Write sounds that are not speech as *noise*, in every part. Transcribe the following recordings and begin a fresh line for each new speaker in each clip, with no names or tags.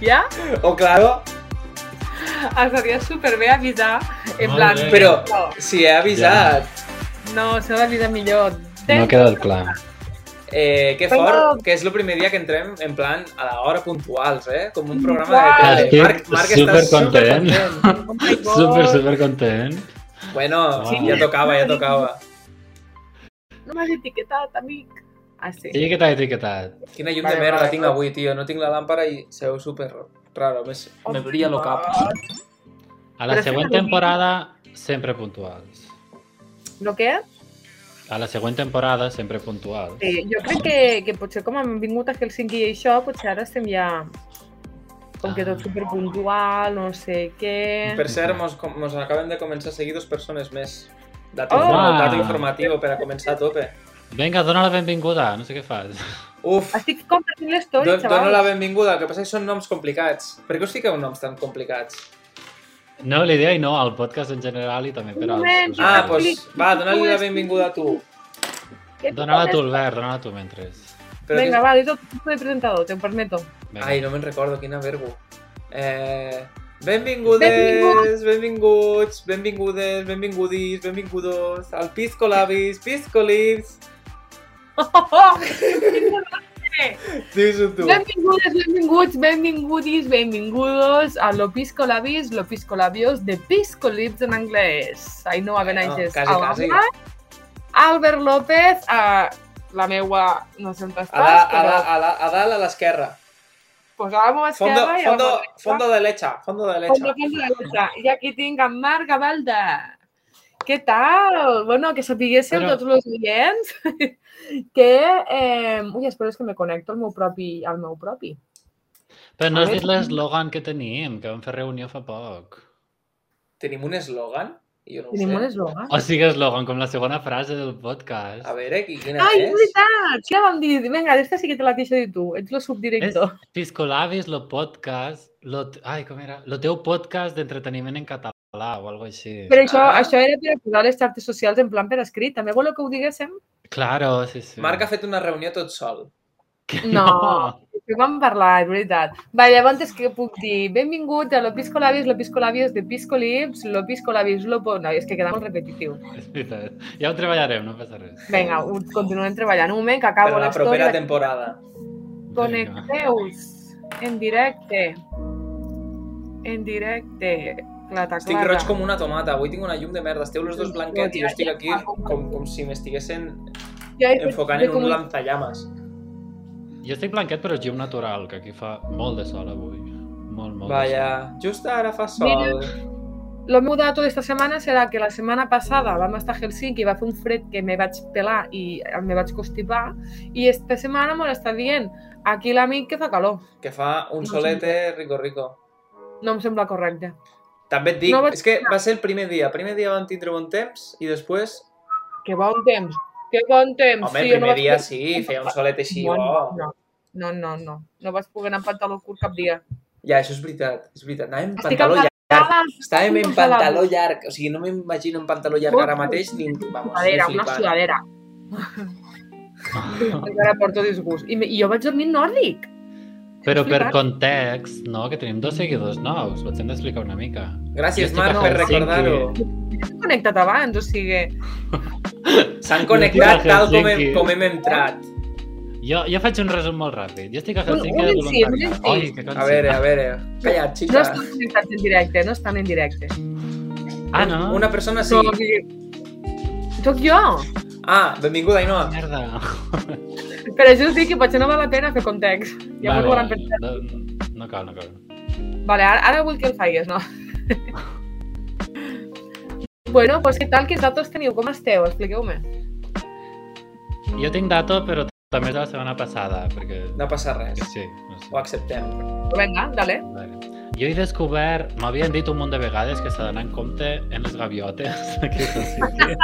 València,
O Oh, claro,
els devia superbé avisar, en
Molt
plan...
bé.
però
No,
si he avisat,
no s'ha d'avisar millor.
No ha quedat clar.
eh, que
Però-
fort, que és el primer dia que entrem en plan a l'hora puntuals, eh? Com un programa
Puntuals.
de tele.
Estic
Marc, Marc està
supercontent.
supercontent.
Oh my God.
*laughs* Super, super content.
Bueno,
Sí.
ja tocava, ja tocava.
No m'has etiquetat, amic. Ah, sí.
Sí que t'ha etiquetat.
Quina llum
Vale,
de merda
vale,
tinc
vale.
avui, tio. No tinc la làmpara i se veu super raro. Més, me brilla el cap.
A la
Però
següent
sempre
temporada, sempre puntuals.
No què?
A la següent temporada, sempre puntuals.
Sí, Eh, jo crec que, que potser com hem vingut a Helsinki i això, potser ara estem ja com que
Ah.
tot superpuntual, no sé què...
Per cert, mos, com- mos acaben de començar a seguir dos persones més. Dato,
Oh!
informa-
Ah.
dato informatiu per a començar a tope.
Vinga, dona la benvinguda, no sé què fas. *laughs*
Uf,
Estic compartint l'història,
do,
xaval.
dono la benvinguda. El que passa és que són noms complicats. Per què us fiqueu noms tan complicats?
No, l'idea i no, al podcast en general i també per als...
moment.
Ah,
usuaris.
doncs
Compli-
pues, va, dona-li la benvinguda a tu.
Què
Dóna-la tu,
pones?
Albert, dóna-la tu mentre.
Però
Vinga,
que...
va, és el tipus de presentador, te'n permeto.
*laughs* Vinga.
Ai, no me'n recordo, quina vergo. Eh... Benvingudes, benvinguts, benvingudes, benvingudis, benvingudos, al Piscolabis, Piscolips.
Oh, oh,
Dius-ho tu.
benvingudes, benvinguts, benvingudis, benvingudos a lo piscolabis, lo piscolabios de piscolips en anglès. Ainhoa Benages,
quasi,
a la
quasi.
mà, Albert López, a la meua, no sé on estàs,
A, la, a,
però
la, a, la, a dalt, a l'esquerra.
pues a la meua
Fondo,
esquerra i a la
fondo,
meua dreta.
fondo de lecha, fondo de
Fondo,
lecha.
fondo de lecha. I aquí tinc a Marc Gavalda. Què tal? Bueno, que sapiguéssiu
Bueno.
tots els oients *laughs* que... Eh... Ui, espera, és que me connecto al meu propi... Al meu propi.
Però no
A
has dit
veure.
l'eslògan que tenim, que vam fer reunió fa poc.
Tenim un eslògan? Jo no ho
Tenim
sé.
un eslògan.
O sigui, eslògan, com la segona frase del podcast.
A veure, qui, quina
Ai, és
és?
veritat! Sí, ja vam dir, vinga, d'esta sí que te la deixo dir tu, ets lo subdirector.
Piscolabis, lo podcast... Lo... t- Ai, com era? Lo teu podcast d'entreteniment en català o alguna així.
Però això,
Ah.
això era per a posar les xarxes socials en plan per escrit. També voleu que ho diguéssim?
Claro, sí, sí.
Marc ha fet una reunió tot sol.
No, que vam parlar, és veritat. Va, llavors és que puc dir benvinguts a lo Piscolabis, lo Piscolabis de Piscolips, lo Piscolabis, lo... Po-". No, és que queda molt repetitiu.
*laughs* És veritat. Ja ho treballarem, no passa res.
Vinga, ho- continuem treballant. Un moment que
Per
acabo
a la propera temporada.
Connecteus en directe. En directe. Clata, clata.
Estic roig com una tomata. Avui tinc una llum de merda. Esteu los dos blanquets i jo estic
Ah,
aquí com, com si m'estiguessin
Ja he fet-
enfocant
de
en
com-
un lanzallames.
Jo estic blanquet, però és llum natural, que aquí fa molt de sol avui. Molt, molt de sol.
Vaja, just ara fa sol.
Lo meu dato d'esta setmana serà que la setmana passada vam estar a Helsinki, va fer un fred que me vaig pelar i me vaig constipar, i esta setmana m'ho està dient aquí l'amic que fa calor.
Que fa un solete rico rico.
No em sembla correcte.
També et dic,
No vaig
és que va ser el primer dia. El primer dia vam tindre bon temps i després...
Que bon temps, que bon temps.
Home, el
jo no
primer
vaig
dia
poder-
sí, oh. feia un solet així,
no,
bo.
no, no, no, no, no vaig poder anar amb pantaló curt cap dia.
Ja, això és veritat, és veritat. Anàvem en
Estic
pantaló llarg.
Ah,
Estàvem en
enfadada.
pantaló llarg, o sigui, no m'imagino en pantaló llarg ara mateix ni... Vamos,
sudadera,
ni
una
flipant.
sudadera.
*laughs*
Encara porto disgust. I, me- I jo vaig dormir nòrdic.
Però per
Flipat.
context, no? Que tenim dos seguidors nous, ho hem d'explicar una mica.
Gràcies,
Jo estic
Marc,
a
per
Helsinki.
recordar-ho.
Estic connectat abans, o sigui...
S'han
Jo
connectat
estic a
tal com hem,
Helsinki.
com hem entrat.
Jo, jo faig un resum molt ràpid. Jo estic a
Un- un
Helsinki de
incís, un
voluntariat.
incís.
Ai, que
A
cansat.
veure, a veure. Calla,
No
xica.
estan connectats en directe, no estan en directe.
Ah, no?
Una persona sí.
Sóc, sóc jo.
Ah, benvinguda, Ainhoa.
Merda.
Però això us dic que potser no val la pena fer context. Ja vale. volen pensar.
no, no cal, no cal.
Vale, ara, ara vull que el faigues, no? bueno, doncs què tal? Quins datos teniu? Com esteu? Expliqueu-me.
Jo tinc dato, però també és de la setmana passada, perquè...
No passa res.
Sí, no
Ho
sé.
acceptem.
Vinga, dale.
Vale. Jo he descobert, m'havien dit un munt de vegades que s'ha d'anar en compte en les gaviotes aquí a Helsinki.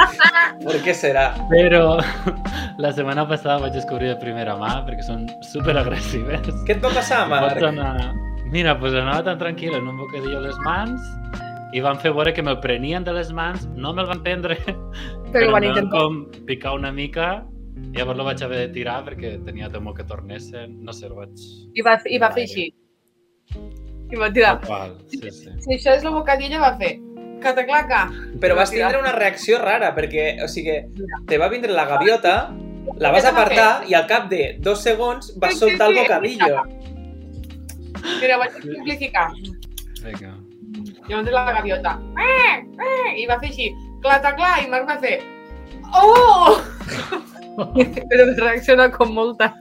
Per què serà?
Però *laughs* la setmana passada vaig descobrir de primera mà perquè són super agressives.
Què et va passar, Marc?
Anar... Mira, doncs anava tan tranquil en un bocadillo a les mans i van fer veure que me'l prenien de les mans, no me'l van prendre, *laughs* però,
Però ho van
em van
intentar.
com picar una mica i llavors lo vaig haver de tirar perquè tenia temor que tornessin, no sé, el vaig...
I va, I va fer així. I va tirar.
Total, sí, sí.
Si això és la bocadilla, va fer cataclaca.
Però vas tindre una reacció rara, perquè, o sigui, te va vindre la gaviota, la vas apartar i al cap de dos segons vas
Sí, sí,
soltar el
sí.
bocadillo.
Mira, vaig simplificar.
Vinga.
Llavors la gaviota. Eh, eh, I va fer així, clataclà, i Marc va fer... *laughs* Oh! Però reacciona com molta.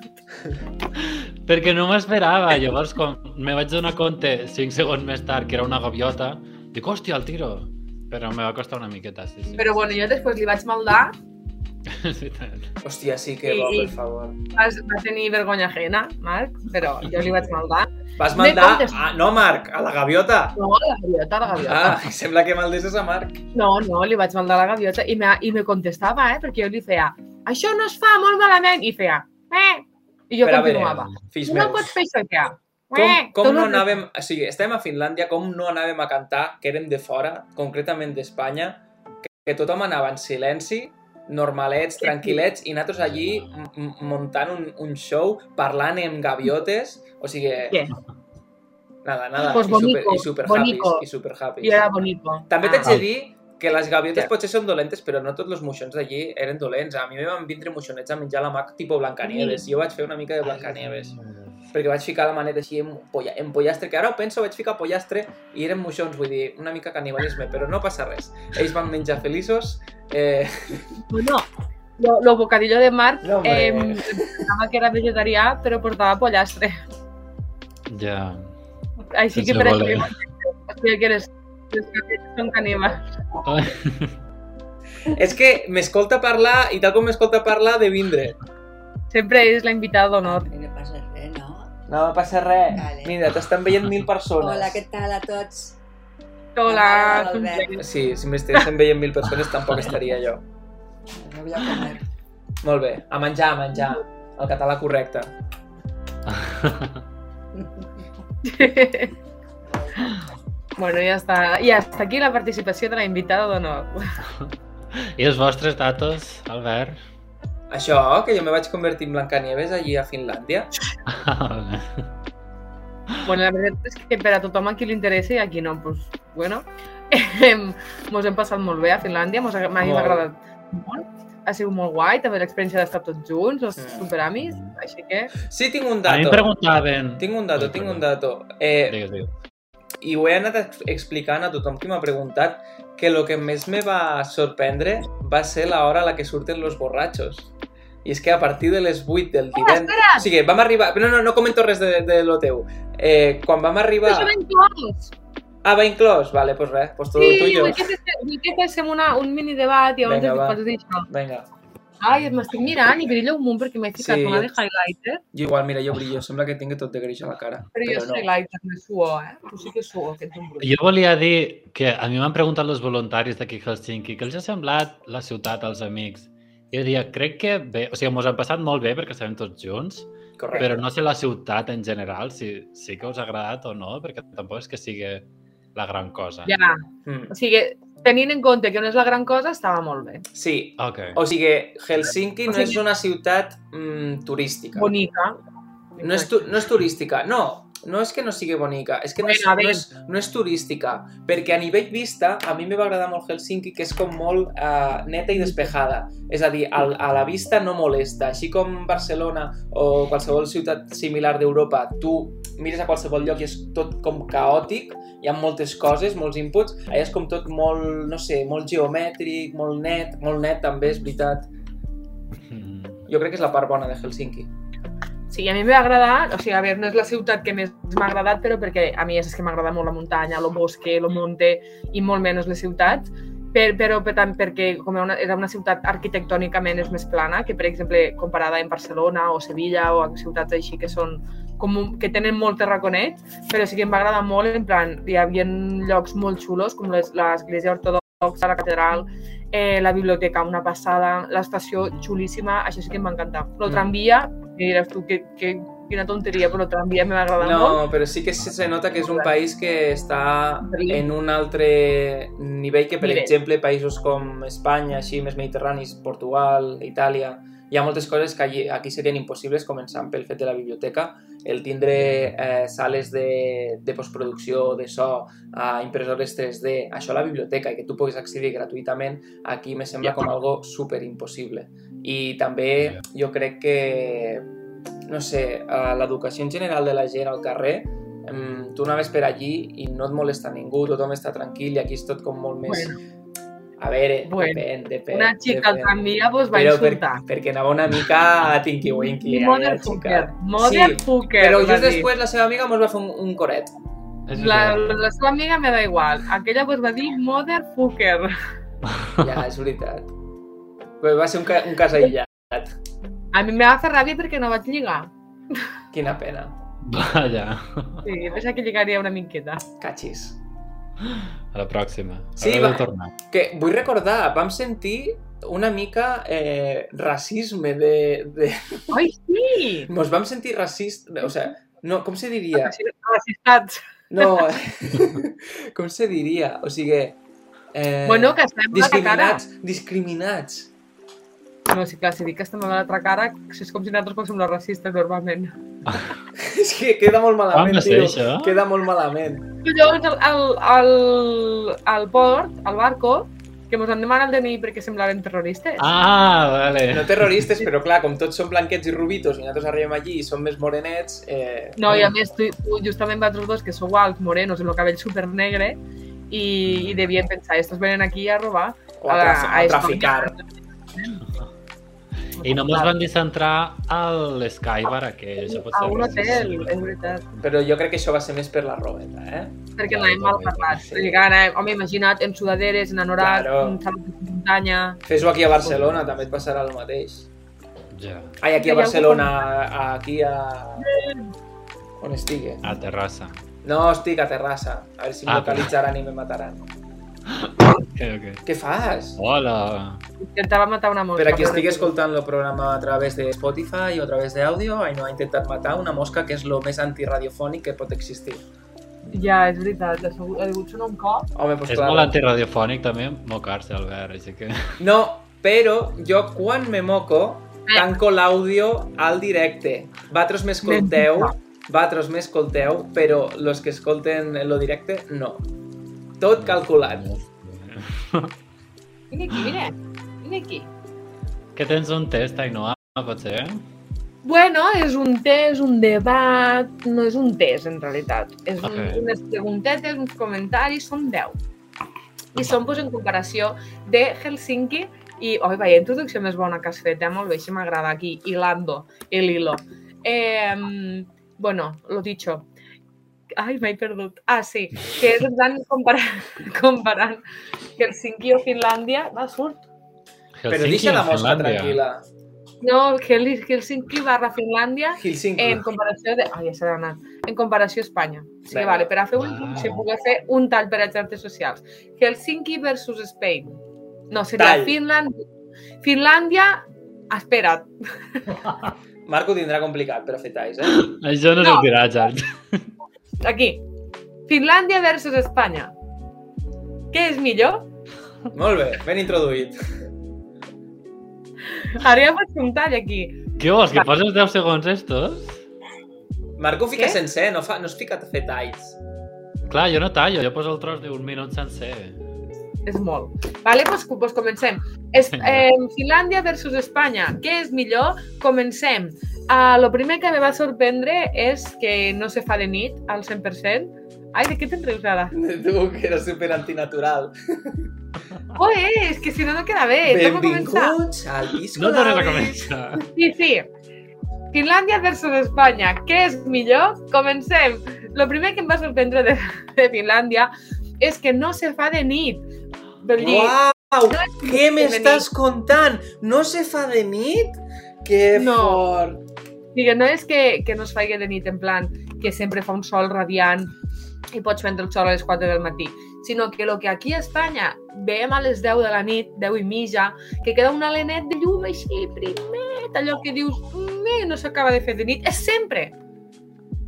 Perquè no m'esperava. Llavors, quan me vaig donar compte cinc segons més tard que era una gaviota, dic, hòstia, el tiro. Però me va costar una miqueta, sí, sí.
Però bueno, jo després li vaig maldar,
*laughs* És veritat.
Hòstia, sí que bo,
Sí.
per favor.
vas, va tenir vergonya ajena, Marc, però jo li vaig maldar.
Vas
Me
mandar...
contest-
Ah, no, Marc, a la gaviota.
No, la gaviota, la gaviota.
Ah, sembla que maldeses a Marc.
No, no, li vaig maldar la gaviota i me, i me contestava, eh, perquè jo li feia això no es fa molt malament, i feia eh, i jo
Però a veure,
continuava.
Fills
no
meus.
pots fer això, ja. Eh,
Com, com
tot el
no
que-
anàvem... O sigui, estem a Finlàndia, com no anàvem a cantar, que érem de fora, concretament d'Espanya, que, que tothom anava en silenci, normalets, tranquil·lets, i nosaltres allí m- m- muntant un, un show, parlant amb gaviotes, o sigui...
Què?
Nada, nada,
Pues bonico,
i super, i
bonico.
happy, i super happy.
I era Ah. bonico.
També t'haig de
val.
dir que les gaviotes
Ja.
potser són dolentes, però no tots els moixons d'allí eren dolents. A mi me van vindre moixonets a menjar la mà tipus Blancanieves. Jo vaig fer una mica de Blancanieves. Perquè vaig ficar la maneta així en, polla, en pollastre, que ara ho penso, vaig ficar pollastre i eren moixons, vull dir, una mica canibalisme, però no passa res. Ells van menjar feliços. Eh,
Bueno, lo, lo bocadillo de Marc
No, hombre.
eh, pensava que era vegetarià, però portava pollastre. *laughs*
Ja.
Així que
Sense
per això
voler.
que, o sigui que les, les gaviotes són caníbals.
és que m'escolta parlar i tal com m'escolta parlar, de vindre.
Sempre és la invitada d'honor.
Però no passa res, no?
No passa res.
Vale.
Mira, t'estan veient mil persones.
Hola, què tal a tots?
Hola,
Hola, Albert.
Sí, si m'estiguessin veient mil persones tampoc estaria jo.
No vull comer.
Molt bé, a menjar, a menjar. El català correcte.
*laughs* bueno, ja està. I hasta aquí la participació de la invitada d'honor.
I els vostres datos,
*laughs*
Albert?
Això, que jo me vaig convertir en Blancanieves allí a Finlàndia.
Bueno, la veritat és que per a tothom a qui li interessa i a qui no, doncs, bueno, em, mos hem passat molt bé a Finlàndia, mos ha, m'ha
Molt.
agradat molt, ha sigut molt guai, també l'experiència d'estar tots junts, els
Sí.
superamis, així que...
Sí, tinc un
A mi em
dato.
preguntaven...
Tinc un dato,
Ai,
tinc
perdó.
un dato. Eh,
Digues, digues.
I ho he anat ex- explicant a tothom qui m'ha preguntat que el que més me va sorprendre va ser l'hora a la que surten los borratxos. I és que a partir de les 8 del divendres... O sigui, vam arribar... No, no, no comento res de, de lo teu. Eh, quan vam arribar...
Això ben clòs!
Ah, va inclòs? Vale, pues res, pues todo
Sí,
tuyo.
vull que, fes- vull que féssim una, un mini debat i llavors
Vinga,
et
va.
pots dir això.
Vinga.
Ai, et m'estic mirant i brillo un munt perquè m'he ficat
Sí,
una
jo-
de highlighter,
Jo igual, mira, jo brillo. Sembla que tingui tot de greix a la cara.
però, jo
no.
no. highlighter, no suo, eh? Tu sí que suo, que ets un brut.
Jo volia dir que a mi m'han preguntat els voluntaris d'aquí a Helsinki que els ha semblat la ciutat als amics. I jo diria, crec que bé, o sigui, mos han passat molt bé perquè estàvem tots junts,
Correcte.
però no sé la ciutat en general, si sí que us ha agradat o no, perquè tampoc és que sigui la gran cosa.
Ja,
Mm.
o sigui, tenint en compte que no és la gran cosa, estava molt bé.
Sí,
Ok.
o sigui, Helsinki no
O sigui-
és una ciutat mm, turística.
Bonica.
No és, tu, no és turística, no. No és que no sigui bonica, és que no és,
Bueno, a
no
ver.
és, no és turística, perquè a nivell vista a mi me va agradar molt Helsinki, que és com molt eh, neta i despejada. És a dir, al, a la vista no molesta. Així com Barcelona o qualsevol ciutat similar d'Europa, tu mires a qualsevol lloc i és tot com caòtic, hi ha moltes coses, molts inputs, allà és com tot molt, no sé, molt geomètric, molt net, molt net també, és veritat.
Mm.
Jo crec que és la part bona de Helsinki.
Sí, a mi m'ha agradat, o sigui, a veure, no és la ciutat que més m'ha agradat, però perquè a mi és que m'agrada molt la muntanya, el bosque, el monte i molt menys les ciutats, per, però per tant, perquè com era una, era una ciutat arquitectònicament és més plana que, per exemple, comparada amb Barcelona o Sevilla o en ciutats així que són com un- que tenen molt terraconet, però sí que em va agradar molt, en plan, hi havia llocs molt xulos, com les- l'església ortodoxa, la catedral, eh, la biblioteca, una passada, l'estació xulíssima, això sí que em va encantar. El
Mm.
tramvia, que diràs tu, que, que, quina tonteria, però el tramvia em va agradar molt.
No, però sí que se se nota que és un país que està en un altre nivell que, per
Nivell.
exemple, països com Espanya, així més mediterranis, Portugal, Itàlia, hi ha moltes coses que allí, aquí serien impossibles, començant pel fet de la biblioteca, el tindre eh, sales de, de postproducció, de so, a impressores 3D, això a la biblioteca, i que tu puguis accedir gratuïtament, aquí me sembla
Ja.
com algo super impossible. I també jo crec que, no sé, eh, l'educació en general de la gent al carrer, em, tu anaves per allí i no et molesta ningú, tothom està tranquil i aquí és tot com molt més...
Bueno.
A veure,
Bueno,
depèn, depèn.
Una xica al
depèn.
tramvia vos va
Però per,
insultar.
perquè anava una mica a Tinky Winky. eh,
Mother
la xica.
Fucker. Mother
Sí,
Fucker.
Però
va
just
dir.
després la seva amiga mos va fer un, un coret.
És
La,
veritat.
la seva amiga me da igual. Aquella vos va dir Mother Fucker.
Ja, és veritat. Però va ser un, ca un cas aïllat.
A mi me va fer ràbia perquè no vaig lligar.
Quina pena.
Vaja.
Sí, pensava que lligaria una miqueta.
Catxis.
A la pròxima.
Sí,
Haureu
va.
de tornar.
Que vull recordar, vam sentir una mica eh, racisme de... de...
Ai, sí!
Nos vam sentir racist... O sea, no, com se diria?
Racistats.
No, *laughs* com se diria? O sigui... Eh,
Bueno, que estem a la cara.
discriminats, discriminats. *laughs*
No, sí, clar, si dic que estem a l'altra cara, és com si nosaltres fóssim les racistes normalment.
És que queda molt
Quan
malament,
Ah, va ser
tio.
això?
Queda molt malament.
Llavors, al, al, al, al port, al barco, que mos han demanat el DNI perquè semblaven terroristes.
Ah, vale.
No terroristes, però clar, com tots són blanquets i rubitos i nosaltres arribem allí i som més morenets... Eh...
No, i a més, tu, tu justament vosaltres dos, que sou alts, morenos, amb el cabell supernegre, i, i devien pensar, estos venen aquí a robar.
O a, trafi- a traficar.
I només van dir centrar al Skybar, que això pot ser...
A un hotel,
racista.
és veritat.
Però jo crec que això va ser més per la robeta, eh?
Perquè
Ja,
anàvem mal
totalment.
parlats. Perquè clar, anàvem, home, imagina't, en sudaderes, en anorat,
Claro.
en salat de muntanya...
Fes-ho aquí a Barcelona, també et passarà el mateix.
Ja,
Ai, aquí
Hi ha
a
algú
Barcelona, a- aquí a... On estigui?
a Terrassa.
No, estic a Terrassa. A veure si em
Ah,
localitzaran i me mataran.
Ok, ok.
Què fas?
Oh, Hola.
Intentava matar una mosca.
Per a qui
però
estigui
no.
escoltant el programa a través de Spotify o a través d'àudio, Ainhoa ha intentat matar una mosca que és el més antiradiofònic que pot existir.
Ja, és veritat, ha sigut- ha degut sonar un cop.
Home, doncs
és
clar.
molt antiradiofònic també mocar-se, Albert, així que...
No, però jo quan me moco
Ah.
tanco l'àudio al directe. Vatros m'escolteu, vatros m'escolteu, però los que escolten lo directe, no. Tot calculat.
Vine aquí, vine. Vine aquí.
Que tens un test, Ainhoa, potser?
Bueno, és un test, un debat... No és un test, en realitat. És un,
Ok.
unes preguntetes, uns comentaris, són 10. I són pues, en comparació de Helsinki i... Oi, veia introducció més bona que has fet, eh? Molt bé, així m'agrada aquí, hilando el hilo. Eh, bueno, lo dicho. Ai, m'he perdut. Ah, sí, que és en plan comparant, *laughs* comparant Helsinki o Finlàndia. Va, surt.
Però
Helsinki
deixa la
o
mosca
Finlàndia?
tranquil·la.
No, Hel- Helsinki barra Finlàndia
Helsinki.
en comparació de... Ai, ja s'ha d'anar. En comparació a Espanya. O sigui,
Vinga.
vale, per a fer un...
Ah.
Se pogué fer un tall per a xarxes socials. Helsinki versus Spain. No, seria
Tall.
Finlàndia. Finlàndia... Espera't.
Marco ho tindrà complicat, però fer
*laughs*
talls, eh?
Això no,
No.
sortirà, Jard.
Aquí. Finlàndia versus Espanya. Què és millor?
Molt bé, ben introduït.
Ara ja pots fer un tall aquí.
Què vols, que poses 10 segons estos?
Marco fica
Què?
sencer, no, fa, no es fica a fer talls.
Clar, jo no tallo, jo poso el tros d'un minut sencer.
És molt. Vale, doncs, doncs comencem. Es, eh, Finlàndia versus Espanya. Què és millor? Comencem. Uh, lo primer que me va sorprendre és que no se fa de nit al 100%. Ai, de què te'n rius ara?
*laughs* Tu, que era super antinatural.
Oe, és que si no, no queda bé. Torna a Eh, començar.
Benvinguts al Pisco
No tornem a
Labis.
començar.
Sí, sí. Finlàndia versus Espanya. Què és millor? Comencem. Lo primer que em va sorprendre de, de Finlàndia és que no se fa de nit. Del llit.
Uau, què
de
m'estàs contant? No se fa de nit? Que
No.
fort!
Digue, no és que, que no es faci de nit en plan que sempre fa un sol radiant i pots prendre el sol a les 4 del matí, sinó que el que aquí a Espanya veiem a les 10 de la nit, 10 i mitja, que queda un alenet de llum així primet, allò que dius "Mm, no s'acaba de fer de nit, és sempre.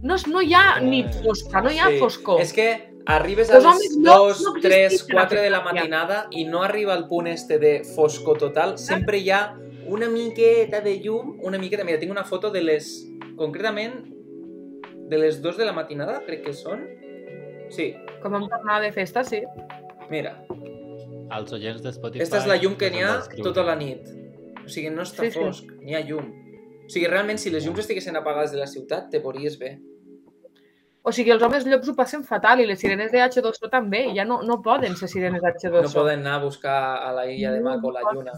No, és, no hi ha nit fosca, no hi ha
Eh, Sí.
foscor.
És que arribes a
Los
les
homes no-
2,
no existeixen
3, 4 de la
a Finlàndia.
matinada i no arriba el punt este de fosco total. Sempre hi ha una miqueta de llum, una miqueta... Mira, tinc una foto de les... Concretament, de les 2 de la matinada, crec que són. Sí,
Com vam tornar de festa, sí.
mira.
Als oients de Spotify...
Aquesta és la llum que
us
n'hi
hem
ha
d'escriure.
tota la nit. O sigui, no està
Sí, sí.
fosc, n'hi ha llum. O sigui, realment, si les llums estiguessin apagades de la ciutat, te veuries bé.
O sigui, els homes llops ho passen fatal i les sirenes de H2O també. Ja no, no poden ser sirenes H2O.
No poden anar a buscar a la illa de Mac o la lluna.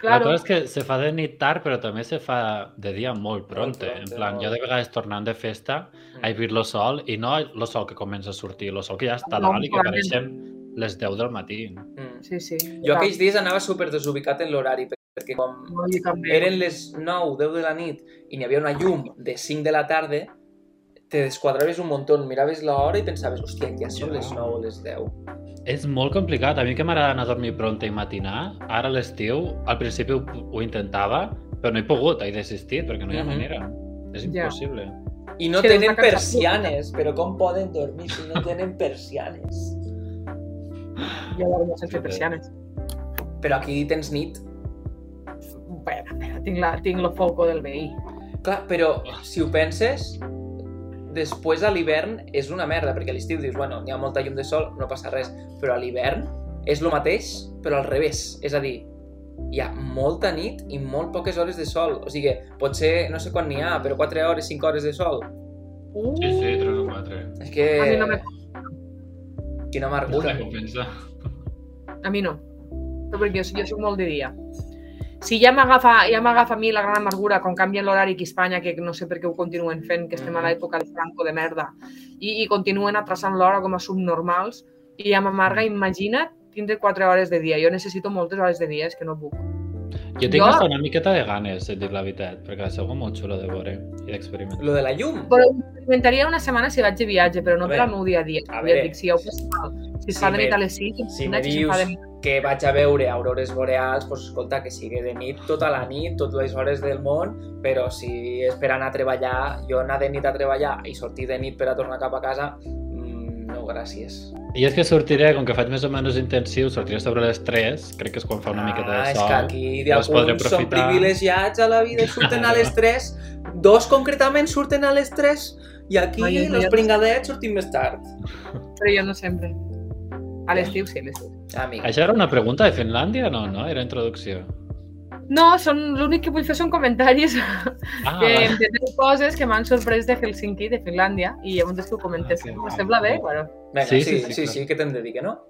Claro.
La cosa és que se fa de nit tard, però també se fa de dia molt pronte.
pronte,
en plan,
molt.
jo de vegades tornant de festa
Mm.
he vist lo sol, i no lo sol que comença a sortir, lo sol que ja està
No,
dalt i que
clarament.
apareixem les 10 del matí.
Mm.
Sí, sí.
Jo aquells dies anava super desubicat en l'horari, perquè com
No, jo també.
eren les 9, 10 de la nit i n'hi havia una llum de 5 de la tarda, te desquadraves un muntó, miraves l'hora i pensaves, hòstia, ja són les 9 o les 10.
És molt complicat. A mi que m'agrada anar a dormir pronte i matinar, ara a l'estiu, al principi ho, ho intentava, però no he pogut, he desistit, perquè no hi ha
Mhm.
manera. És
Ja.
impossible.
I no
Sí, és
tenen
una cançó.
persianes, però com poden dormir si no tenen persianes?
Jo dormo sense persianes.
Però aquí tens nit.
Espera, espera, tinc, la, tinc lo foco del veí.
Clar, però si ho penses, després a l'hivern és una merda, perquè a l'estiu dius, bueno, hi ha molta llum de sol, no passa res, però a l'hivern és el mateix, però al revés. És a dir, hi ha molta nit i molt poques hores de sol. O sigui, potser no sé quan n'hi ha, però 4 hores, 5 hores de sol.
Uh,
Sí, sí, 3 o 4.
És que...
A mi no me-
Quina amargura.
compensa.
A mi no. No, perquè jo, jo soc molt de dia. Si ja m'agafa ja m'agafa a mi la gran amargura quan canvien l'horari aquí a Espanya, que no sé per què ho continuen fent, que estem a
Mhm.
l'època de Franco de merda, i, i continuen atrasant l'hora com a subnormals, i ja m'amarga,
Mm.
imagina't, tindré 4 hores de dia. Jo necessito moltes hores de dia, és que no puc.
Jo tinc
Jo-
hasta una miqueta de ganes, et dic la veritat, perquè és algo molt xulo de veure i d'experimentar.
Lo de la llum.
Però ho experimentaria una setmana si vaig de viatge, però no
A
per
veure,
al meu dia a dia.
a
A
veure.
veure, dic, si ja ho passo mal. Si es
Si
fa de
me-
nit a les 5,
si me dius que vaig a veure aurores boreals, doncs escolta, que sigui de nit tota la nit, totes les hores del món, però si és per anar a treballar, jo anar de nit a treballar i sortir de nit per a tornar cap a casa, mm, no, gràcies.
I és que sortiré, com que faig més o menys intensiu, sortiré sobre les 3, crec que es quan fa una miqueta de
Ah, és
sol.
que aquí
llavors podré
alguns són
aprofitar.
privilegiats a la
*laughs*
vida, surten a les 3, dos concretament surten a les 3, i aquí
Ai, ai,
els
ai.
pringadets sortim més tard.
però jo no sempre. A l'estiu sí, a l'estiu.
Amic.
Això era una pregunta de Finlàndia? No, no? Era introducció.
No, són l'únic que vull fer són comentaris
Ah,
*laughs* de,
vale.
de, de coses que m'han sorprès de Helsinki, de Finlàndia, i llavors és que ho comentes.
Ah, que
Us
guai.
sembla bé? Bueno,
Vinga, sí,
Sí,
sí,
sí,
sí, sí,
sí, clar.
sí que te'n dediqui, no?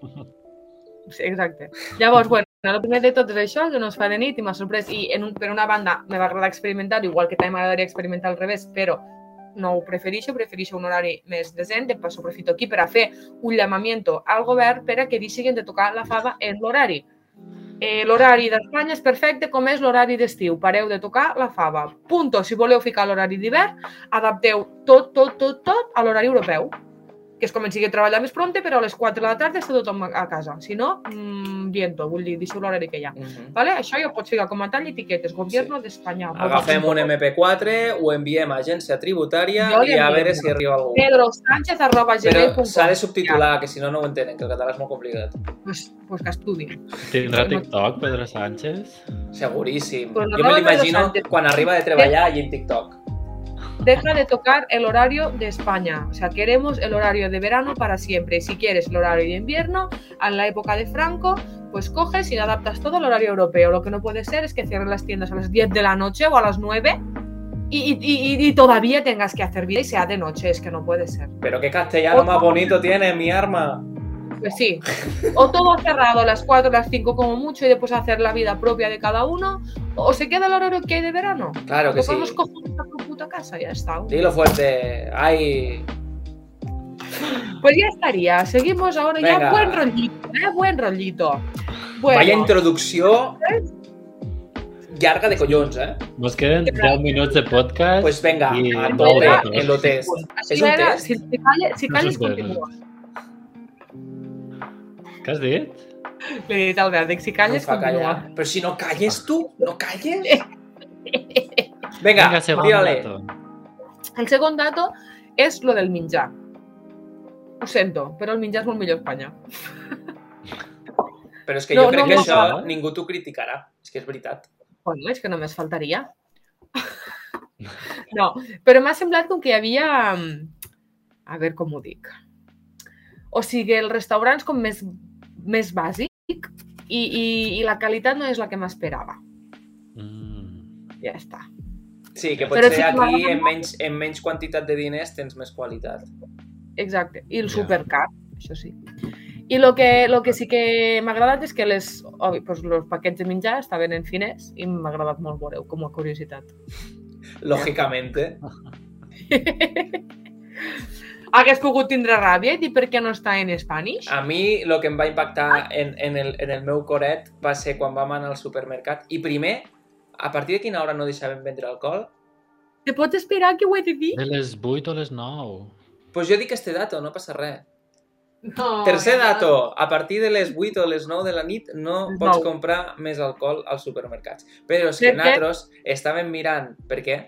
sí, exacte. Llavors, bueno, el primer de tot és això, que no es fa de nit i m'ha sorprès. I en un, per una banda me va agradar experimentar, igual que també m'agradaria experimentar al revés, però no ho prefereixo, prefereixo un horari més decent, de passo aprofito aquí per a fer un llamamiento al govern per a que deixin de tocar la fava en l'horari. Eh, l'horari d'Espanya és perfecte com és l'horari d'estiu. Pareu de tocar la fava. Punto. Si voleu ficar l'horari d'hivern, adapteu tot, tot, tot, tot a l'horari europeu. Que es comenci a treballar més prompte, però a les 4 de la tarda està tothom a a casa. Si no, mmm, viento, vull dir, deixeu l'horari que hi ha.
Mm -hmm.
Vale? Això ja ho pots ficar com a tall i etiquetes. Gobierno d'Espanya.
Agafem un MP4, ho enviem a agència tributària
Jo li
i a
envio.
veure si arriba algú.
Pedro Sánchez arroba
Però
gmail.com
s'ha de subtitular, que si no, no ho entenen, que el català és molt complicat.
pues, pues que estudin.
Tindrà TikTok, Pedro Sánchez?
Seguríssim.
Però no
jo me
parlen de
l'imagino
Los Angeles.
quan arriba de treballar allí en TikTok.
Deja de tocar el horario de España. O sea, queremos el horario de verano para siempre. Y Si quieres el horario de invierno, a la época de Franco, pues coges y le adaptas todo al horario europeo. Lo que no puede ser es que cierren las tiendas a las 10 de la noche o a las 9 y, y- y- y todavía tengas que hacer vida y sea de noche. Es que no puede ser.
Pero qué castellano más bonito tiene mi arma.
Pues sí. O todo cerrado a las 4, a las 5 como mucho y después hacer la vida propia de cada uno. O se queda el horario que hay de verano.
Claro que
Tocar
sí.
los cojones a tu puta casa, ya está.
Dilo fuerte. Ay,
Pues ya estaría. Seguimos ahora
Venga.
ya. Buen rollito, ¿eh? Buen rollito. Bueno,
vaya introducció llarga de collons, eh?
Nos queden 10 minuts de podcast.
Pues venga,
I-
a
molt
tope
bé.
en lo test.
pues, así
es un
era,
test.
Si, si calles, si
No
calles
s'espera.
continúas.
Què has dit?
Le diré al Albert, Eh, si
No em
calles,
fa callar.
continúa.
Però si no calles tu, no calles. Vinga,
Vinga, segon
tírale.
dato.
El segon dato és lo del menjar. Ho sento, però el menjar és molt millor a Espanya.
Però és que
No,
jo crec
no,
que
no,
això
no.
ningú t'ho criticarà. És que és veritat.
Bueno, és que només faltaria. *laughs* No, però m'ha semblat com que hi havia... mm, A veure com ho dic. O sigui, els restaurants com més, més bàsic i, i, i la qualitat no és la que m'esperava.
Mm.
Ja està.
Sí, que
Però
potser
sí que
aquí
m'agrada
en menys, en menys quantitat de diners tens més qualitat.
Exacte. I el
Ja.
supercar, això sí. I el que, lo que sí que m'ha agradat és que les, obvi, pues, los paquets de menjar estaven en finès i m'ha agradat molt veure com a curiositat. *laughs*
Lògicament, eh?
Hagués pogut tindre ràbia i dir per què no està en Spanish?
A mi el que em va impactar en, en, el, en el meu coret va ser quan vam anar al supermercat i primer, a partir de quina hora no deixaven vendre alcohol?
Te pots esperar que ho he de dir?
De les 8 o les 9.
Pues jo dic este dato, no passa res.
*laughs* No,
Tercer dato, a partir de les 8 o les 9 de la nit no
Les
pots
nou.
comprar més alcohol als supermercats. Però és
Per
que
què?
nosaltres estàvem mirant... Per què?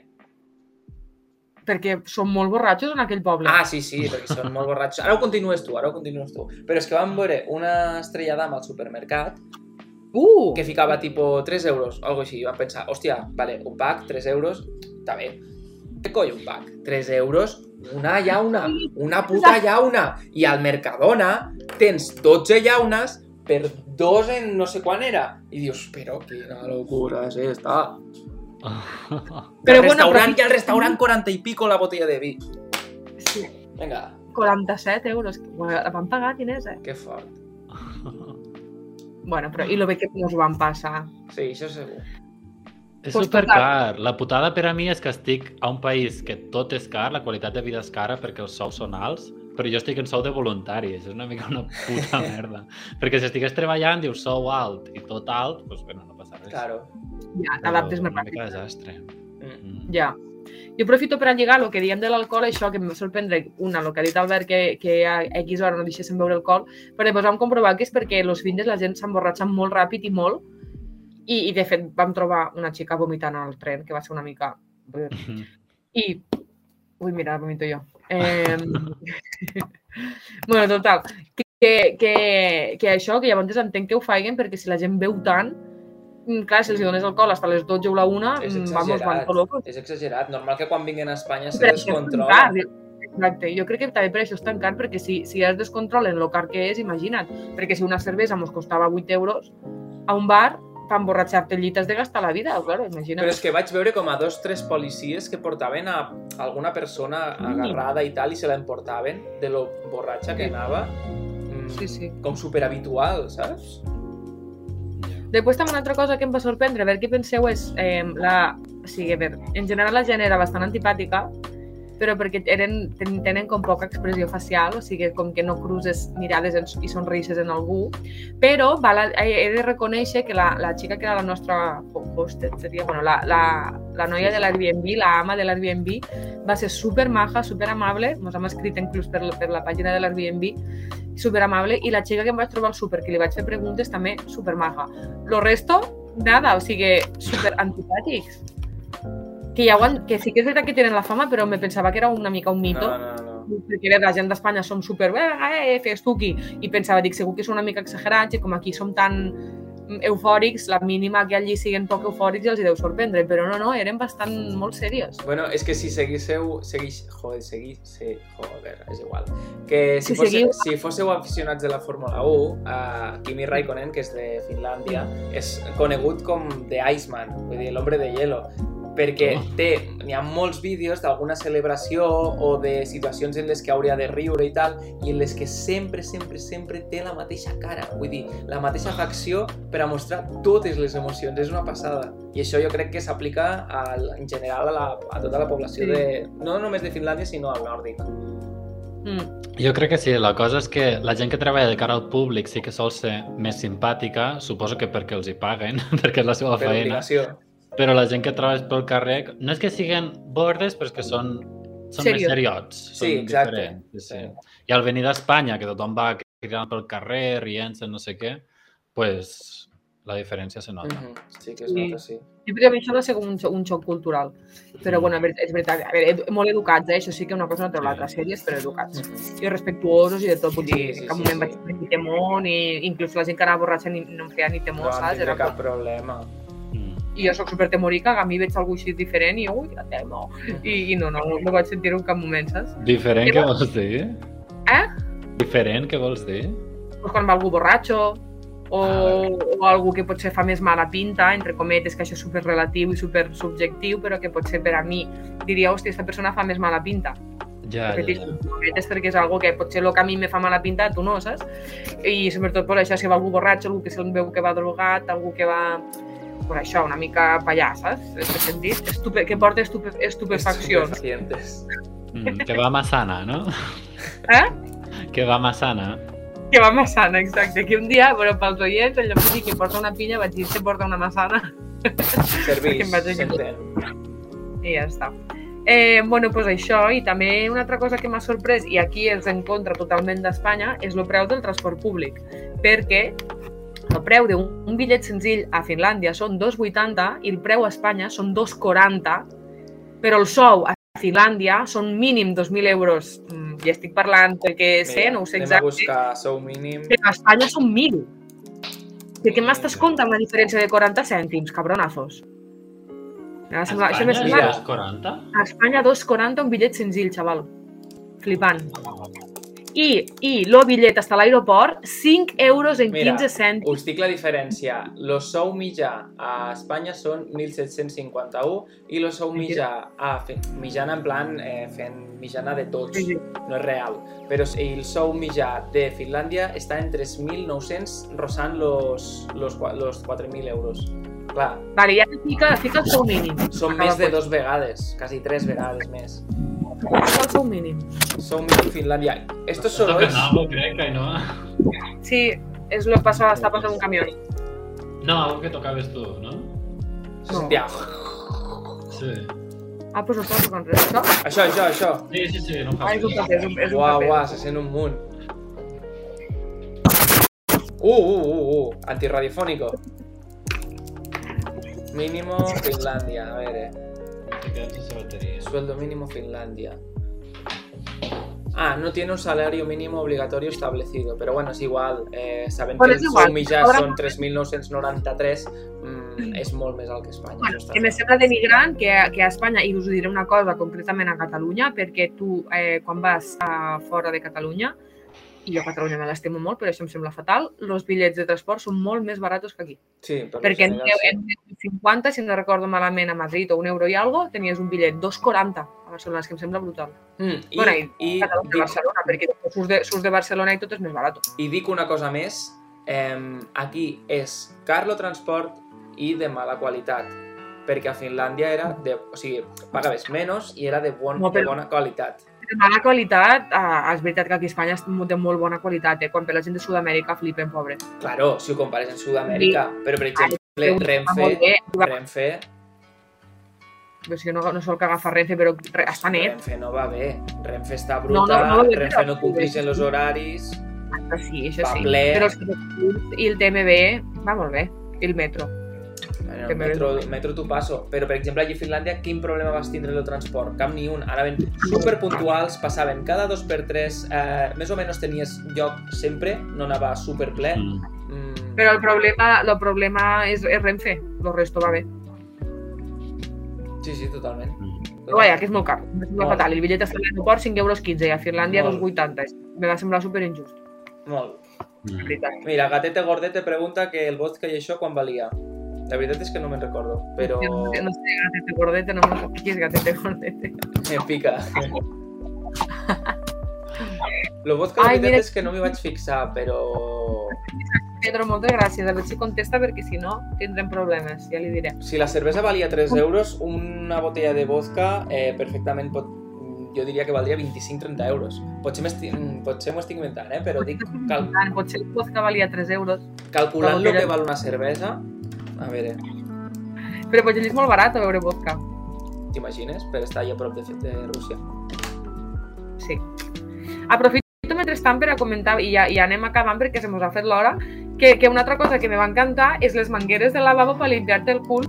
Perquè són molt borratxos en aquell poble.
Ah, sí, sí, perquè són molt borratxos. Ara ho continues tu, ara ho continues tu. Però és que vam veure una estrella d'am al supermercat
uh!
que ficava tipo 3 euros o algo així. I vam pensar, hòstia, vale, un pack, 3 euros, està bé. Què coi un pack? 3 euros, una llauna, una puta
*laughs*
llauna. I al Mercadona tens 12 llaunes per dos en no sé quan era. I dius, però quina locura és esta.
Però
Però el
bueno,
restaurant,
però-
i al restaurant 40 i pico la botella de vi.
Sí,
Vinga,
47 euros. Bueno, La van pagar, diners, eh?
que fort.
Bueno, però i lo bé que no us van passar.
Sí, això segur.
*laughs* És
Pues
supercar. La putada per a mi és que estic a un país que tot és car, la qualitat de vida és cara perquè els sous són alts, però jo estic en sou de voluntari, és una mica una
*laughs*
puta merda. perquè si estigués treballant, dius sou alt i tot alt, doncs bueno, no passa res.
Claro.
Ja,
Però
t'adaptes més
Una
ràpid.
mica desastre.
Mm.
Mm.
Ja. Jo aprofito per a lligar el que diem de l'alcohol, això que em va sorprendre una, el que ha dit Albert, que, que a X hora no deixessin beure alcohol, però després vam comprovar que és perquè els fins la gent s'emborratxa molt ràpid i molt, i, i de fet vam trobar una xica vomitant al tren, que va ser una mica...
*laughs* Mhm.
I... Ui, mira, vomito jo. Eh... *laughs* bueno, total, que, que, que això, que llavors entenc que ho faiguen, perquè si la gent veu tant, mm, clar, si els hi dones alcohol fins a les 12 o la 1,
És
mm, vamos, van
exagerat.
locos.
És exagerat. Normal que quan vinguin a Espanya se
Per això és tan
descontrola.
car. eh? Exacte, jo crec que també per això és tan car, perquè si, si es descontrola en lo car que és, imagina't, perquè si una cervesa mos costava 8 euros, a un bar, per emborratxar-te llites de gastar la vida, claro, imagina't.
Però és que vaig veure com a dos, tres policies que portaven a alguna persona
Mm.
agarrada i tal i se la emportaven de lo borratxa que anava. Mm,
Sí, sí.
Com superhabitual, saps?
Després també una altra cosa que em va sorprendre, a veure què penseu, és eh, la... O sigui, a veure, en general la gent era bastant antipàtica, però perquè eren, ten, tenen com poca expressió facial, o sigui, com que no cruces mirades en, i sonrises en algú, però val, a- he he de reconèixer que la, la xica que era la nostra ho- hostet, seria, bueno, la, la, la noia de l'Airbnb, la ama de l'Airbnb, va ser super maja, super amable, ens hem escrit inclús per, per la pàgina de l'Airbnb, super amable, i la xica que em vaig trobar al super, que li vaig fer preguntes, també super maja. Lo resto, nada, o sigui, super antipàtics. Que, ja ho han, que sí que és veritat que tenen la fama, però me pensava que era una mica un mito
No, no, no.
perquè la gent d'Espanya som super, eh, eh, fes tu aquí, i pensava, dic, segur que són una mica exagerats i com aquí som tan mm, eufòrics, la mínima que allí siguin poc eufòrics els hi deu sorprendre, però no, no, eren bastant molt serios.
Bueno, és que si seguísseu... Seguix... Joder, seguís... Sí, joder, és igual. Que
Si
si, fos,
seguiu-
si fósseu aficionats de la Fórmula 1, uh, Kimi Raikkonen, que és de Finlàndia, és conegut com The Iceman, vull dir, l'hombre de hielo,
Oh.
perquè té, n'hi ha molts vídeos d'alguna celebració o de situacions en les que hauria de riure i tal, i en les que sempre, sempre, sempre té la mateixa cara, vull dir, la mateixa facció per a mostrar totes les emocions, és una passada. I això jo crec que s'aplica al- en general a, la, a tota la població
Sí.
de... no només de Finlàndia, sinó al nòrdic.
Mm,
Jo crec que sí, la cosa és que la gent que treballa de cara al públic sí que sol ser més simpàtica, suposo que perquè els hi paguen, *laughs* perquè és la seva
Per
feina,
obligació.
però la gent que treballa pel carrer, no és que siguin bordes, però és que són, són més
Serios.
seriots. Són
Sí, exacte.
diferents, Sí, sí. I al venir d'Espanya, que tothom va cridant pel carrer, rient-se, no sé què, pues, la diferència se nota.
Mhm, Sí que es nota, sí.
jo crec que això va ser com un, xo- un xoc cultural, però bueno, a veure, és veritat, a veure, ed- molt educats, eh? això sí que una cosa no treu l'altra, sèries, però educats.
Mhm.
I respectuosos i de tot, vull dir,
Sí, sí,
en cap
sí,
moment
sí.
vaig tenir temor, ni, inclús la gent que anava borratxa ni, no em feia ni temor,
No, no
saps?
tindré
Era com,
cap problema.
Mm.
i jo sóc supertemorica, que a mi veig algú així diferent i jo, ui, que temo. I, i no, no, no, no vaig sentir en cap moment, saps?
Diferent,
I
què
va-
vols dir?
Eh?
Diferent, què vols dir?
Pues quan va algú borratxo, o,
Ah.
o algú que potser fa més mala pinta, entre cometes, que això és superrelatiu i super subjectiu, però que potser per a mi diria, hòstia, aquesta persona fa més mala pinta.
Ja, ja,
Repeteixo,
ja.
cometes perquè és algo que potser el que a mi me fa mala pinta, tu no, saps? I sobretot per això, si va algú borratxo, algú que se'n veu que va drogat, algú que va... Per això, una mica pallà, saps? En aquest sentit, estupe, que porta estupe, estupefaccions.
Estupefacientes.
Mm, que va massana, no? *laughs*
Eh?
Que va massana.
Que va massana, exacte. Que un dia, bueno, pels oients, en lloc de dir que porta una pinya, vaig dir que porta una massana. Que
Serveix,
*laughs* em vaig a-
s'entén.
*laughs* i ja està. Eh, bueno, doncs això, i també una altra cosa que m'ha sorprès, i aquí és en contra totalment d'Espanya, és el preu del transport públic, perquè el preu d'un un bitllet senzill a Finlàndia són 2,80 i el preu a Espanya són 2,40, però el sou a Finlàndia són mínim 2.000 euros. Mm, ja estic parlant perquè sé,
Mira,
no ho sé
Anem a
exacte,
buscar sou mínim.
però a Espanya són 1.000. Que què m'estàs comptant la diferència de 40 cèntims, cabronazos? Em sembla- Això m'ha
Espanya,
semblat
és 40?
a Espanya 2,40 un bitllet senzill, xaval. Flipant. I, i lo bitllet està a l'aeroport, 5 euros en
Mira,
15 cèntims.
Us dic la diferència. Lo sou mitjà a Espanya són 1.751 i lo sou mitjà a fe- mitjana en plan eh, fent mitjana de tots, no és real. Però s- el sou mitjà de Finlàndia està en 3.900 roçant los, los, qua- los 4.000 euros. Clar,
Vale, ja fica, fica el seu mínim.
són
Acaba
més de
tot.
dos vegades, quasi tres vegades més.
Fica el seu mínim.
Sou mitjà a Finlàndia. Estos
Esto que
sorolls...
no, crec que no. ¿eh?
Sí, és lo que passa, està passant un camió.
No, algo que tocaves tu, no?
Se sentia...
Sí.
Ah, doncs estava tocant res, això?
Això, això, això.
Sí, sí, sí, no fa
Ah, és un
res.
paper, és un, és un
Uau,
paper.
uau, se sent un munt. Uh, uh, uh, uh, antirradiofónico. Mínimo Finlandia, a ver, eh.
Te quedas sense bateries.
Sueldo mínimo Finlandia. Ah, no tiene un salario mínimo obligatorio establecido, pero bueno, es igual. Eh, saben
Bueno,
que
és
el
igual,
seu mitjà
cobra-
són 3.993, mm, és molt més alt que Espanya.
Bueno,
això està
que me
clar.
sembla denigrant que, que a Espanya, i us diré una cosa concretament a Catalunya, perquè tu eh, quan vas a fora de Catalunya, i jo a Catalunya me l'estimo molt, però això em sembla fatal, els bitllets de transport són molt més barats que aquí.
Sí, però
perquè en,
en general,
deu- en 50, si no recordo malament, a Madrid o un euro i algo, tenies un bitllet 2,40 a Barcelona, és que em sembla brutal.
sí. Mm, i,
Bueno, i,
i,
Catalunya,
dic-
Barcelona, perquè després surts de, surts de Barcelona i tot és més barat.
I dic una cosa més, eh, aquí és Carlo Transport i de mala qualitat, perquè a Finlàndia era de... O sigui, pagaves menys i era de, bon,
No,
de
però-
bona qualitat.
De mala qualitat, eh, és veritat que aquí a Espanya és de molt bona qualitat, eh? quan per la gent de Sud-amèrica flipen, pobres.
Claro, si ho compares en Sud-amèrica, però per exemple,
Déu, Va
Renfe,
molt bé, va,
Renfe,
però si jo Pues no, no sol que agafa Renfe, però re, està net.
Renfe no va bé, Renfe està
no,
bruta,
no va bé,
Renfe
però-
no compleix en els horaris,
Ah, Sí, això
va
sí.
ple,
Però els autobusos i el TMB va molt bé, i el metro.
Bueno,
Que
el
me
metro, el metro t'ho passo, però per exemple allà a Finlàndia quin problema vas tindre el transport? Cap ni un, anaven superpuntuals, passaven cada dos per tres, eh, més o menys tenies lloc sempre, no anava superple.
Mm.
Mm.
Però el problema, el problema és, és Renfe, el resto va bé.
Sí, sí, totalment.
Però vaja, que és molt car, em sembla
Molt.
fatal. El bitllet està a l'aeroport 5 euros 15 i a Finlàndia
Molt.
2,80. Me va semblar superinjust,
Molt.
la
Mm.
veritat.
Mira, Gatete Gordete pregunta que el vodka i això quan valia. La veritat és que no me'n recordo, però
Jo no, sé- no sé, gatete gordete, no me lo qui és gatete gordete. *laughs*
em pica. Lo vodka, la
Ai,
veritat
mira.
és que no m'hi vaig fixar, però...
Pedro, moltes gràcies. A veure si contesta perquè si no tindrem problemes, ja li diré.
Si la cervesa valia 3 euros, una botella de vodka eh, perfectament pot... Jo diria que valdria 25-30 euros. Potser m'esti- mm, potser m'ho estic inventant, eh? però dic cal
Tant, potser el vodka valia 3 euros, La
calculant el
botella-
que val una cervesa... A veure,
però potser és molt barat a beure vodka.
t'imagines? Per estar allà a prop de, de Rússia.
Sí. Aprofito mentrestant per a comentar, i ja, ja anem acabant perquè se mos ha fet l'hora, que, que una altra cosa que me va encantar és les mangueres del lavabo per limpiar-te el cul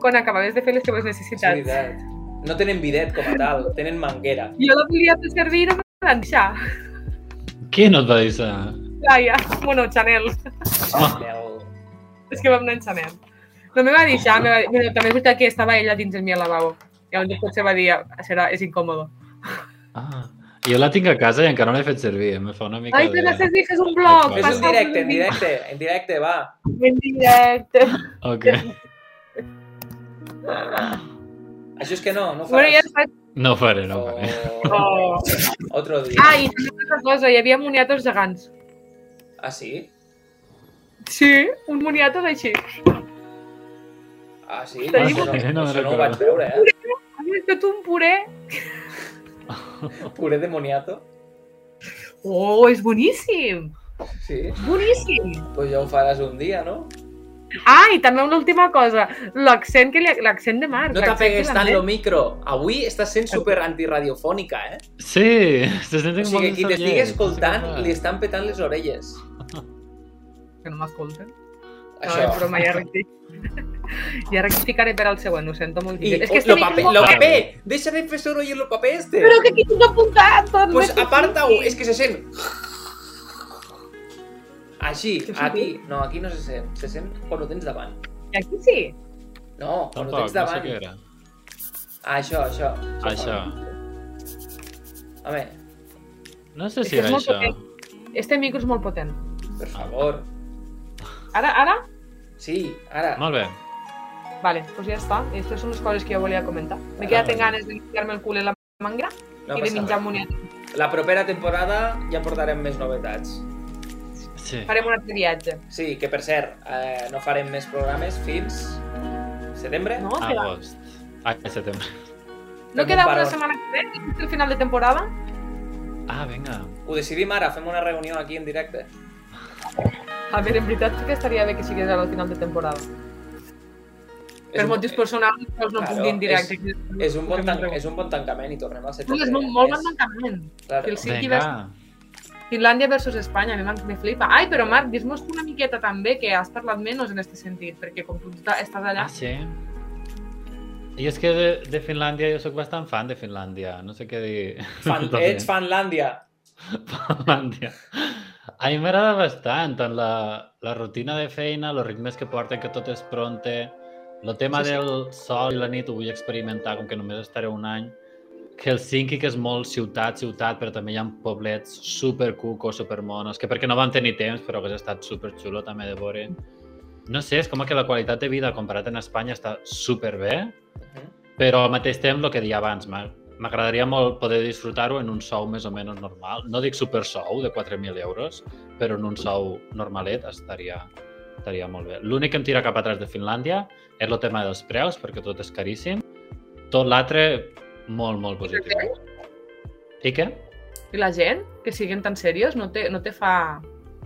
quan acabaves de fer les teves
És
necessitats.
veritat. No tenen bidet com a tal, tenen manguera.
Jo la volia fer servir i no me van deixar.
Qui no et va dir això?
Laia, bueno, Chanel.
Chanel.
És que vam anar en Chanel. No me va deixar, me va dir... Bueno, també és veritat que estava ella dins el meu lavabo. Llavors potser va dir, serà, és incòmode.
Ah, jo la tinc a casa i encara no l'he fet servir, eh, em fa una mica
Ai,
de...
però se dices un blog.
Fes
Fes
Passa
en directe, en directe, en directe, va.
En directe.
Ok.
Això és que no, no ho
Bueno, ja
faràs.
està.
No ho faré, no ho faré.
Oh,
Oh.
Otro dia.
Ah, i també una altra cosa, hi havia moniatos gegants.
Ah, sí?
Sí, uns moniatos així.
Ah, sí?
Tenim
Això no,
un- No me'n
això no ho
recordo.
vaig veure, eh?
Has fet un puré.
Puré demoniato.
Oh, és boníssim.
Sí?
Boníssim.
Pues ja ho faràs un dia, no?
Ah, i també una última cosa. L'accent que li... L'accent de Marc.
No t'apegues
l'accent
tant
que
lo micro. Avui estàs sent
Em
super antiradiofònica, eh?
Sí, se senten
O
com
sigui,
molt
qui t'estigui
encerllers,
escoltant
no sé com va.
li estan petant les orelles.
l'han- Que no m'escolten. No,
Això.
però ja recti- ja rectificaré per al següent, ho sento molt.
I
És
oh,
que
lo
estic
paper,
molt-
lo paper! Deixa de fer soroll en lo paper este!
Però que aquí tinc apuntat tot.
Pues
no és
aparta-ho,
possible.
és que se sent. Així,
Que sí.
aquí. No, aquí no se sent. Se sent quan ho tens davant.
Aquí sí.
No, quan ho
Tampoc, no
tens
sé
davant.
què era.
Ah, això, això.
Això.
Home,
No sé
És
si
que és
era
molt
això.
potent. Este micro és molt potent.
per favor.
Ara, ara?
Sí, ara.
Molt bé.
Vale, doncs ja està. Aquestes són les coses que jo volia comentar. M'he quedat
Ah,
amb ganes de ficar-me el cul en la manga
No
i de
passa
menjar
res.
moniatos.
La propera temporada ja portarem més novetats.
Sí.
Farem un altre viatge.
Sí, que per cert, eh, no farem més programes fins setembre.
No, queda,
Agost. Ah, setembre.
no
un
queda una
parón.
setmana que ve, fins al final de temporada.
Ah, vinga.
Ho decidim ara, fem una reunió aquí en directe.
A veure, en veritat sí que estaria bé que sigués ara al final de temporada.
És
per
un-
motius personals doncs no
Claro,
puc dir en directe.
És un, bon tan... és un bon tancament i tornem al setembre.
és molt, molt bon
És-
tancament.
Claro.
El sí que
Vinga.
Finlàndia versus Espanya, a mi m'en- me flipa. Ai, però Marc, dis-nos una miqueta també que has parlat menys en aquest sentit, perquè com tu ta- estàs allà...
Ah, sí. I és que de, de Finlàndia jo sóc bastant fan de Finlàndia. No sé què dir.
Fan...
Tot bé.
Ets Fanlàndia.
Finlàndia. A mi m'agrada bastant tant la, la rutina de feina, els ritmes que porten, que tot és pronte, el tema
Sí, sí.
del sol i la nit ho vull experimentar, com que només estaré un any. Helsinki, que és molt ciutat, ciutat, però també hi ha poblets supercucos, supermonos, que perquè no vam tenir temps, però que ha estat superxulo també de veure. No sé, és com que la qualitat de vida comparat en Espanya està superbé, però al mateix temps, el que deia abans, m'a- m'agradaria molt poder disfrutar-ho en un sou més o menys normal. No dic super sou de 4.000 euros, però en un sou normalet estaria, estaria molt bé. L'únic que em tira cap atràs de Finlàndia és el tema dels preus, perquè tot és caríssim. Tot l'altre, molt, molt positiu. eh? I què?
I la gent, que siguin tan serios, no te, no te fa...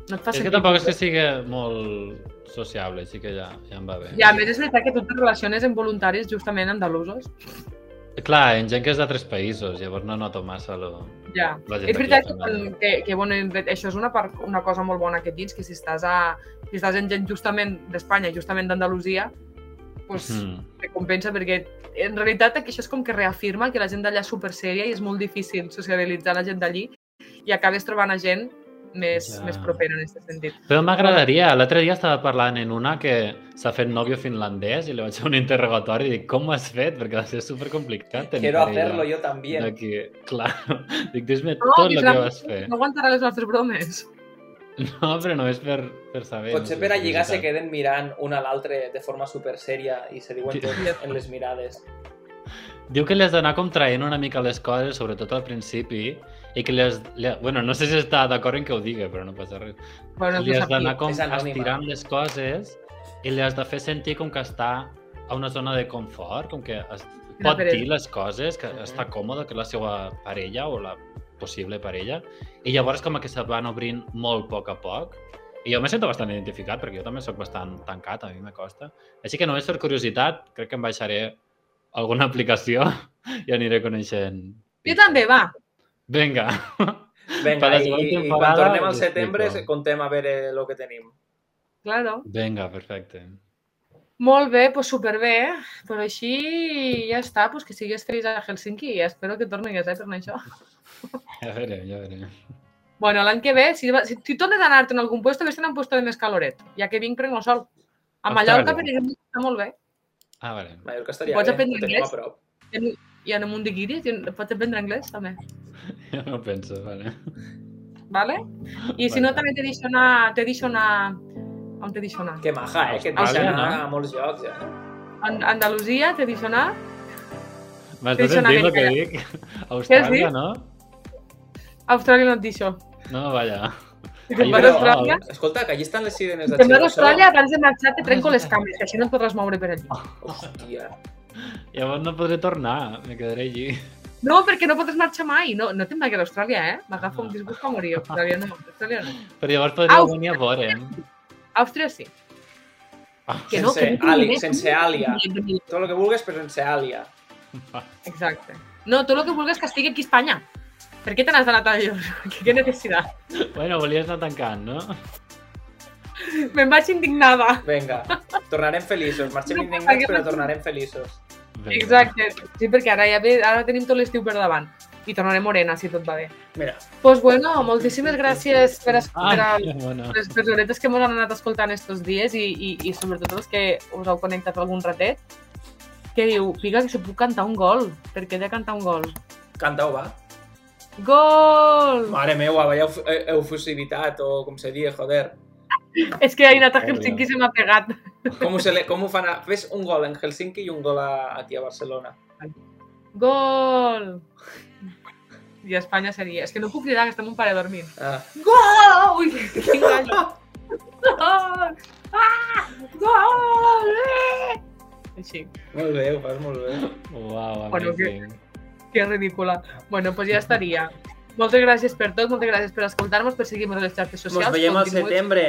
No et fa
És que
sentir
tampoc és
culpa.
que sigui molt sociable, així que ja, ja em va bé.
I a més és veritat que tu te relaciones amb voluntaris justament andalusos.
Clar, en gent que és d'altres països, llavors no noto massa lo...
Ja.
la gent
És veritat que,
d'aquí a
quan,
Finlàndia.
que, que bueno, en veritat, això és una, part, una cosa molt bona que tens, que si estàs, a, si estàs en gent justament d'Espanya, justament d'Andalusia, doncs mm.
Mm.
te compensa perquè en realitat això és com que reafirma que la gent d'allà és super sèria i és molt difícil sociabilitzar la gent d'allí i acabes trobant a gent més,
Ja.
ja. més propera en aquest sentit.
Però m'agradaria. L'altre dia estava parlant en una que s'ha fet nòvio finlandès i li vaig fer un interrogatori i dic, com ho has fet? Perquè va ser supercomplicat. tenir
Quiero
parella
hacerlo yo también.
D'aquí. *laughs* Clar. Dic, dis-me
No,
tot el que
Islam,
vas fer.
No aguantarà les nostres bromes.
No, però només per, per saber.
Potser per a lligar se queden mirant un a l'altre de forma super seria i se diuen
Sí.
tot en les mirades.
*laughs* Diu que li has d'anar com traient una mica les coses, sobretot al principi, i que li has... Li... ha- Bueno, no sé si està d'acord en que ho digui, però no passa res.
Bueno,
li
és
has d'anar
aquí.
com
És anònima.
estirant les coses i li has de fer sentir com que està a una zona de confort, com que es
Quina
pot
pereza.
dir les coses, que
Mhm.
està còmode, que és la seva parella o la possible parella, i llavors com que se van obrint molt a poc a poc, i jo me sento bastant identificat, perquè jo també sóc bastant tancat, a mi me costa. Així que només per curiositat, crec que em baixaré alguna *laughs* aplicació i aniré coneixent.
Jo també, va.
Vinga. *laughs* Per
Vinga,
la
i,
següent
i quan
temporada doncs,
tornem al
us
setembre
explico.
contem a veure el que tenim.
Claro.
Vinga, perfecte.
Molt bé, doncs superbé. Pues així ja està, pues que sigues feliç a Helsinki i espero que tornis, eh, per això.
Ja veurem, ja veurem.
Bueno, l'any que ve, si, va- si, si tornes a anar-te en algun lloc, vés en un lloc de més caloret, ja que vinc prenc el sol. A Mallorca,
Austràlia.
per exemple, està molt bé.
Ah, vale.
Mallorca estaria
Pots
bé,
aprendre
ho tenim a
anglès?
prop.
I en un munt de guiris i en- pots aprendre anglès, també.
*laughs* Ja m'ho penso, vale.
¿vale? I si
Vale.
no, també t'he deixat anar... T'he deixat anar... On t'he deixat anar?
Que maja, eh? Que et
Austràlia,
deixen anar
no?
a molts llocs, eh?
An Andalusia, t'he deixat anar.
M'has de
Deixa anar
sentir el que
aquella. *laughs*
dic? Austràlia,
dit?
no?
Austràlia no et deixo.
No, vaja.
Si te'n
Ahí
vas a
però-
Austràlia,
Escolta, que allí estan les sirenes
si
de
te'n vas a
Xero, això-
Ah. Austràlia, abans de marxar te trenco
Ah,
les
sí.
cames, que així no et podràs moure per allí.
Hòstia.
Llavors no podré tornar, me quedaré allí. *laughs*
No, perquè no podràs marxar mai. No, no te'n vaig a Austràlia, eh? M'agafa
Ah.
un disgust a morir. Austràlia no, Austràlia no.
Però llavors podríeu
Au.
venir a veure'm.
Àustria sí. Que no,
Ah, Sense
que no tinc
ali- ah.
diners.
sense àlia.
Ni-
Tot el que vulguis, però sense àlia.
Exacte. No, tot el que vulguis que estigui aquí a Espanya. Per què te n'has d'anar tan lluny? *laughs* Què necessitat?
Bueno, volies anar tancant, no?
Me'n vaig indignada.
Vinga, tornarem feliços. Marxem
No,
indignats,
perquè-
però tornarem feliços.
Vinga.
Exacte. Sí, perquè ara ja ve, ara tenim tot l'estiu per davant. I tornaré morena, si tot va bé.
Mira,
Doncs pues bueno, moltíssimes gràcies
Ah,
per escoltar
Ai, Ah, *laughs* bueno.
les personetes que ens han anat escoltant estos dies i, i, i sobretot els que us heu connectat algun ratet, que diu, pica que se puc cantar un gol, perquè he de cantar un gol.
canta-ho, va.
Gol!
Mare meva, veieu efusivitat, o com se diu, joder.
És que Aina a Helsinki se m'ha pegat.
Com ho, se le, com ho fan? A... Fes un gol en Helsinki i un gol a, aquí a Barcelona.
Gol! I a Espanya seria... És que no puc cridar, que està mon pare dormint.
Ah.
Gol! *laughs* Ui, quin gallo! Gol! Ah! Gol! Eh! Així.
Molt bé, ho fas molt bé.
Uau,
Bueno, que-
amazing.
Que ridícula. Bueno, doncs pues ja estaria. Moltes gràcies per tot, moltes gràcies per escoltar-nos, per seguir-nos a les xarxes socials.
Ens veiem al
continueu-
setembre.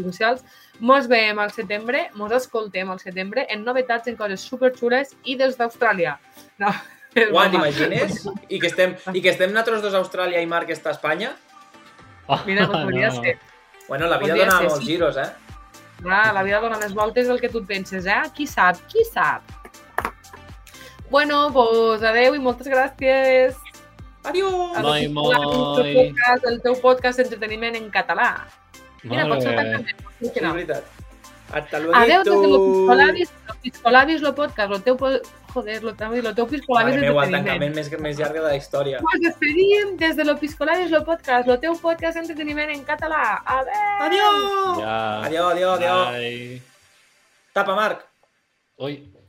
Socials. Mos veiem al setembre, mos escoltem al setembre en novetats, en coses superxules i des d'Austràlia. No, *laughs* és
Uau,
broma.
t'imagines? I que estem, i que estem nosaltres dos a Austràlia i Marc està a Espanya?
*laughs*
Mira, doncs podria
Ah, No.
ser.
Bueno, la vida
Podria
dona
ser,
molts
sí.
giros, eh?
Clar, la vida dona més voltes del que tu et penses, eh? Qui sap, qui sap? Bueno, doncs pues, adeu i moltes gràcies.
Adiós!
Has
Moi,
escoltat
moi.
El teu podcast, el teu podcast d'entreteniment en català. Mira,
Molt
pot ser
bé.
tan cantant.
Sí,
que
és
no.
veritat. Hasta
Adeu des de lo
luego.
Piscolabis, lo Piscolabis, lo podcast, lo teu... po- Joder, lo, teu- lo teu Piscolabis
Mare meva, el
entreteniment.
tancament més, més llarg de la història.
Pues despedim des de lo Piscolabis, lo podcast, lo teu podcast entreteniment en català. Adeu!
Adiós!
Ja.
Adiós, adiós, adiós.
Ai.
Tapa, Marc.
Ui.